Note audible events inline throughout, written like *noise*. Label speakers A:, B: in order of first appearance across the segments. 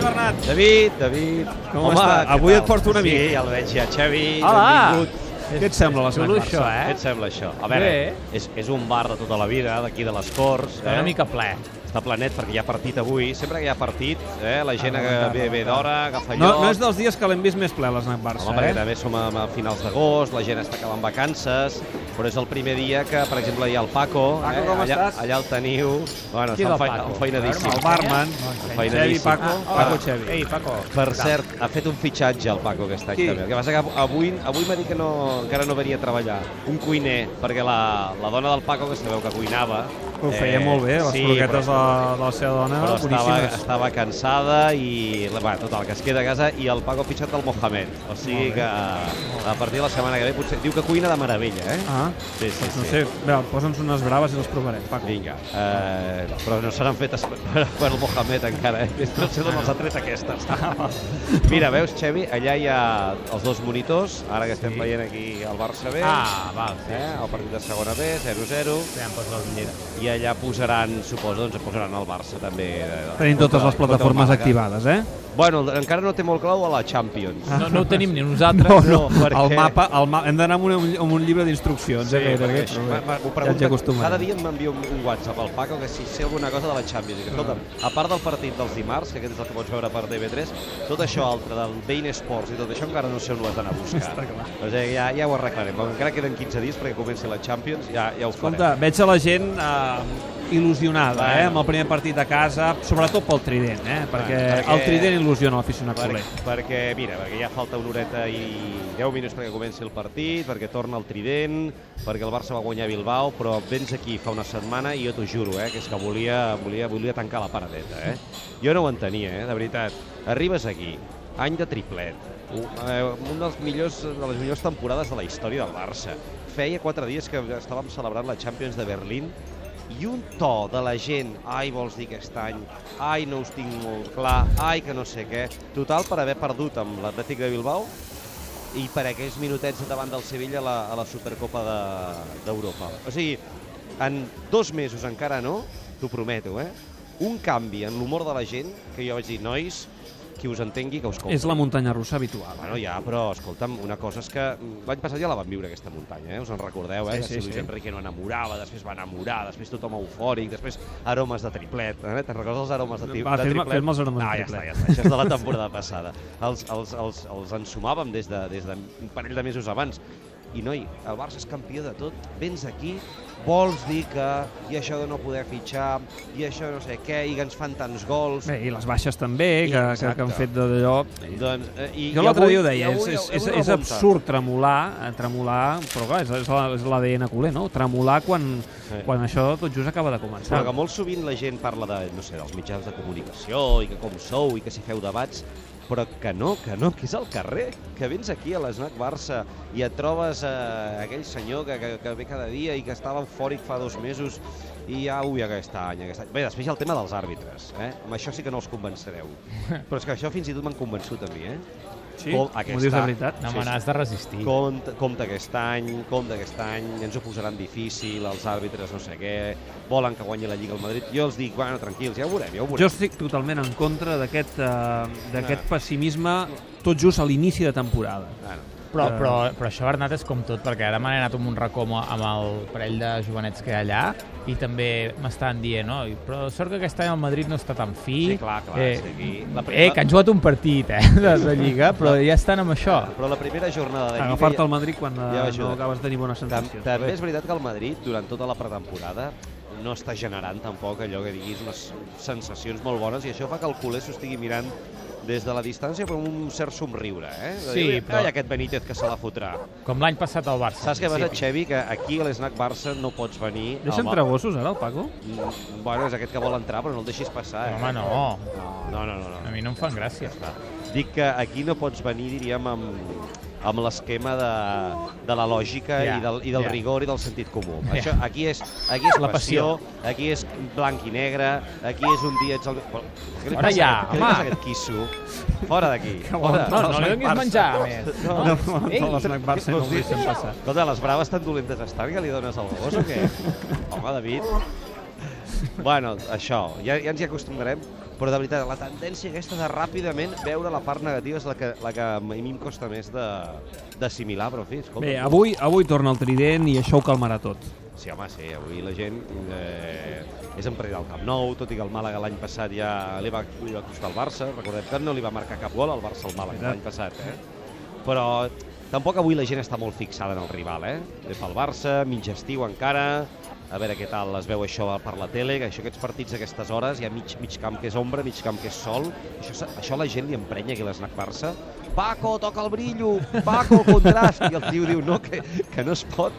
A: Bernat?
B: David, David...
A: Com està? Avui et porto una
B: mica.
A: mica.
B: Sí, ja el veig ja. Xavi,
C: Hola!
B: benvingut.
A: Què et sembla la
C: Xulo
A: Snack
C: això,
A: Barça?
B: Què
C: eh?
B: et sembla això? A veure,
C: Bé.
B: és, és un bar de tota la vida, d'aquí de les Corts. eh?
C: Està una mica ple.
B: Està planet perquè hi ha partit avui. Sempre que hi ha partit, eh, la gent
A: Ah,
B: que
A: va,
B: ve,
A: va,
B: ve
A: va.
B: d'hora, agafa
A: No,
B: lloc.
A: no és dels dies que l'hem vist més ple, la Snack Barça,
B: Home, perquè
A: eh?
B: també som a, a finals d'agost, la gent està acabant vacances, però és el primer dia que, per exemple, hi ha el Paco.
A: Paco,
B: eh?
A: com
B: allà,
A: estàs?
B: Allà el teniu. Bueno,
C: Qui és
B: està
C: el
B: enfei-
C: Paco?
B: enfeinadíssim.
A: El barman, Xevi,
B: Enfeinadíssim.
A: Paco, Ah,
C: hola.
A: Paco Xevi.
C: Ei, Paco.
B: Ah. Per cert, ha fet un fitxatge el Paco aquest any
A: Qui?
B: també. El que passa que avui, avui m'ha dit que no, encara no venia a treballar. Un cuiner, perquè la, la dona del Paco, que sabeu que cuinava... eh,
A: Ho feia molt bé, les
B: sí,
A: croquetes de,
B: però,
A: de la seva dona,
B: però estava,
A: boníssimes.
B: estava cansada i, va, total, que es queda a casa i el Paco ha fitxat el Mohamed. O sigui que a partir de la setmana que ve potser... Diu que cuina de meravella, eh?
A: Ah,
B: sí, sí,
A: doncs no sé, veure, posa'ns unes braves i les provarem, Paco.
B: Vinga, eh, però no seran fetes *laughs* per, per el Mohamed encara, eh? no sé d'on els ha tret aquestes. *laughs* Mira, veus, Xevi, allà hi ha els dos monitors, ara que estem veient aquí el Barça B,
C: Ah, doncs val, sí.
B: eh, el partit de segona B, 0-0,
C: Ja em poso la ullera.
B: i allà posaran, suposo, doncs posaran el Barça també. eh,
A: Tenim totes
B: contra-
A: les plataformes
B: contra el Màlaga.
A: activades, eh?
B: Bueno, encara no té molt clau a la Champions.
C: No, no
A: *laughs*
C: ho tenim ni nosaltres.
B: no, perquè-
A: el mapa, el ma... hem d'anar amb, una, amb un llibre d'instruccions, eh?
B: perquè
A: gairebé,
B: això-
A: però bé,
B: m'ha- m'ha- m'ho
A: ja ens hi
B: pregunta-
A: acostumarem.
B: Cada dia m'envia un, un WhatsApp al Paco que si sé alguna cosa de la Champions. League. Escolta'm,
A: Ah.
B: a part del partit dels dimarts, que aquest és el que pots veure per TV3, tot això altre del Bein Sports i tot això encara no sé on ho has d'anar a buscar.
A: Està clar.
B: O sigui, ja, ja ho arreglarem. Com encara queden 15 dies perquè comenci la Champions, ja, ja ho
A: Escolta,
B: farem.
A: veig a la gent eh, il·lusionada eh, amb el primer partit a casa, sobretot pel Trident, eh, perquè,
B: perquè-
A: el Trident il·lusiona l'aficionat
B: Per,
A: culer.
B: perquè, mira, perquè ja falta una horeta i 10 minuts perquè comenci el partit, perquè torna el Trident, perquè el Barça va guanyar a Bilbao, però vens aquí fa una setmana i jo t'ho juro, eh, que és que volia, volia, volia tancar la paradeta. Eh? Jo no ho entenia, eh, de veritat. Arribes aquí, any de triplet, un, eh, un dels millors, de les millors temporades de la història del Barça. Feia 4 dies que estàvem celebrant la Champions de Berlín i un to de la gent, ai, vols dir aquest any, ai, no us tinc molt clar, ai, que no sé què. Total, per haver perdut amb l'Atlètic de Bilbao i per aquells minutets davant del Sevilla a la, a la Supercopa de- d'Europa. De, o sigui, en dos mesos encara no, t'ho prometo, eh? Un canvi en l'humor de la gent, que jo vaig dir, nois, qui us entengui, que us compri.
A: És la muntanya russa habitual.
B: Bueno, ja, però escolta'm, una cosa és que mm, l'any passat ja la vam viure aquesta muntanya, eh? us en recordeu, eh?
A: Sí,
B: que
A: sí,
B: si Luis
A: sí.
B: Enrique no enamorava, després va enamorar, després tothom eufòric, després aromes de triplet, eh? te'n recordes els aromes de, tri
A: Va,
B: de
A: fes-me-
B: triplet?
A: fes-me els aromes de
B: ah, ja
A: triplet.
B: està, ja està, això és de la temporada passada. Els, els, els, els ensumàvem des de, des de un parell de mesos abans. I noi, el Barça és campió de tot, vens aquí, vols dir que i això de no poder fitxar, i això no sé què, i que ens fan tants gols...
A: Bé, I les baixes també, que, que, que han
B: Exacte.
A: fet de- d'allò...
B: Doncs, eh, i,
A: Jo
B: i
A: l'altre
B: avui-
A: dia ho deia,
B: i
A: és,
B: avui-
A: és,
B: avui
A: és, és
B: remunten.
A: absurd tremolar, eh, tremolar, però clar, és, és la- és l'ADN culer, no? Tremolar quan,
B: Sí.
A: quan això tot just acaba de començar.
B: Però que molt sovint la gent parla de, no sé, dels mitjans de comunicació i que com sou i que si feu debats, però que no, que no, que és al carrer, que vens aquí a l'Snac Barça i et trobes eh, aquell senyor que, que, que ve cada dia i que estava eufòric fa dos mesos i ja, ui, aquest any, aquest any. Bé, després hi ha el tema dels àrbitres, eh? Amb això sí que no els convencereu. Però és que això fins i tot m'han convençut a mi, eh?
A: Sí?
B: Col-
A: M'ho dius de
B: aquesta-
A: veritat?
C: No me n'has de resistir.
B: Compte, compte aquest any, compte aquest any, ens ho posaran difícil, els àrbitres no sé què, volen que guanyi la Lliga al Madrid. Jo els dic, bueno, tranquils, ja ho veurem, ja ho
A: Jo
B: veurem.
A: estic totalment en contra d'aquest eh, d'aquest
B: Ah.
A: pessimisme tot just a l'inici de temporada.
B: Bueno,
C: Però,
A: Eh.
C: però, però això, Bernat, és com tot, perquè ara m'han anat amb un racó amb- amb el parell de jovenets que hi ha allà i també m'estan dient, no, i- però sort que aquest any el Madrid no està tan fi.
B: Sí, clar, clar, és que aquí la
C: eh,
B: primera-
C: que han jugat un partit, eh, de la Lliga, però ja estan amb això.
B: però la primera jornada de Lliga...
A: Agafar-te al Madrid quan
B: Ja
A: eh,
B: ajuda.
A: no acabes de tenir bones
B: Tam-
A: sensacions.
B: També és veritat que el Madrid, durant tota la pretemporada, no està generant tampoc allò que diguis unes sensacions molt bones i això fa que el culer s'ho estigui mirant des de la distància però amb un cert somriure, eh? De
C: Sí,
B: dir,
C: però-
B: Ai, aquest Benítez que se la fotrà.
C: Com l'any passat al Barça.
B: Saps què
C: al
B: passa,
C: principi.
B: Xevi? Que aquí a l'Snac Barça no pots venir...
A: Deixa
B: amb-
A: entrar gossos ara, el Paco?
B: Mm, Bueno, és aquest que vol entrar, però no el deixis passar. Eh?
C: Home, no.
B: No, no, no.
C: A
B: no.
C: mi no em fan gràcia.
B: Dic que aquí no pots venir, diríem, amb, amb l'esquema de, de la lògica
C: Ja,
B: i del, i del
C: ja.
B: rigor i del sentit comú.
C: Ja.
B: Això, aquí és, aquí és
C: La
B: la
C: passió.
B: passió, aquí és blanc i negre, aquí és un dia ets el... Però, Què li
C: Fora
B: passa,
C: ja,
B: què li
C: home.
B: passa a aquest quisso? Fora d'aquí. Fora.
C: No, no li donis menjar, a més.
A: No, no, no, no l'Snac Barça no ho deixen passar.
B: Escolta, les braves tan dolentes estan que li dones al gos o què? Home, David. Bueno, això, ja, ja ens hi acostumarem. però de veritat, la tendència aquesta de ràpidament veure la part negativa és la que, la que a mi em costa més de- d'assimilar, però en fi, escolta...
A: Bé, avui, avui torna el trident i això ho calmarà tot.
B: Sí, home, sí, avui la gent eh, és empresa del Camp Nou, tot i que el Màlaga l'any passat ja li va, li va costar el Barça, recordem que no li va marcar cap gol al Barça al Màlaga
A: Veritat.
B: l'any passat, eh? Però tampoc avui la gent està molt fixada en el rival, eh? És pel Barça, mig estiu encara, a veure què tal es veu això per la tele, que això, aquests partits a aquestes hores, hi ha mig, mig camp que és ombra, mig camp que és sol, això, se- això la gent li emprenya aquí a l'esnac Barça. Paco, toca el brillo, Paco, contrast, i el tio diu no, que, que no es pot,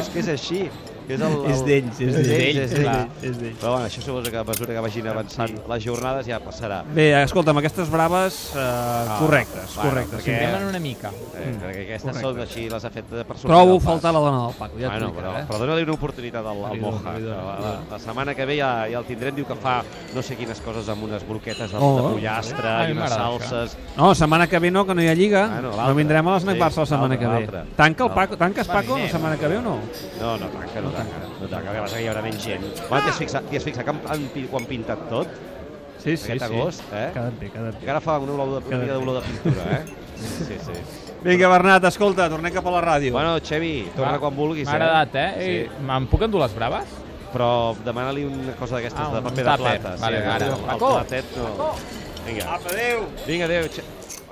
B: és que és així. que És, el, el...
A: És d'ells, és d'ells,
B: és
A: és
B: clar.
A: d'ells, és d'ells.
B: Però bueno, això suposo que a mesura que vagin avançant les jornades ja passarà.
A: Bé, escolta'm, aquestes braves, eh,
B: Ah,
A: correctes,
B: bueno,
A: correctes.
B: perquè-
A: sí.
C: Anem en una mica.
B: Eh,
A: Mm,
B: perquè aquestes
A: correcte.
B: són així, les ha fet per sortir
A: Trobo
B: del pas.
A: faltar la dona del Paco, ja
B: Ja bueno,
A: t'ho dic,
B: però,
A: eh?
B: però dona-li una oportunitat al, al
A: Li dono,
B: Moja.
A: li dono,
B: La,
A: li
B: la,
A: dono.
B: la setmana que ve ja, ja el tindrem, diu que fa no sé quines coses amb unes broquetes de,
A: Oh,
B: de
A: oh.
B: pollastre
C: Ah, a mi
B: i unes
C: m'agrada això.
B: salses.
A: No, setmana que ve no, que no hi ha Lliga.
B: Ah, no,
A: no,
B: l'altra.
A: vindrem a l'esnac
B: Sí,
A: Barça la setmana
B: l'altra,
A: que ve.
B: l'altra.
A: Tanca el
B: L'altra.
A: Paco, tanques
C: Va,
A: Paco la
C: anem.
A: setmana que ve o no?
B: No, no tanca, no tanca. No tanca, que vas que hi haurà menys gent. Bueno, T'hi has fixat, t'hi has fixat com, han, pi- quan pintat tot?
A: Sí,
B: sí, Aquest sí. agost, eh?
A: Queda't bé, queda't bé.
B: Encara fa una, olor de, una
A: Cada dia.
B: mica d'olor de pintura, eh? Sí, sí.
A: Vinga, Bernat, escolta, tornem cap a la ràdio.
B: Bueno, Xevi, torna
C: Va,
B: quan vulguis, eh?
C: M'ha agradat, eh? eh?
B: Sí.
C: Me'n puc endur les braves?
B: Però demana-li una cosa d'aquestes
C: Ah,
B: de
C: un
B: paper de
C: tàper.
B: plata.
C: Vale,
B: sí,
C: vale.
B: El, el
C: Paco.
B: platet no... Vinga,
A: Apa, adéu!
B: vinga, adéu. Xe-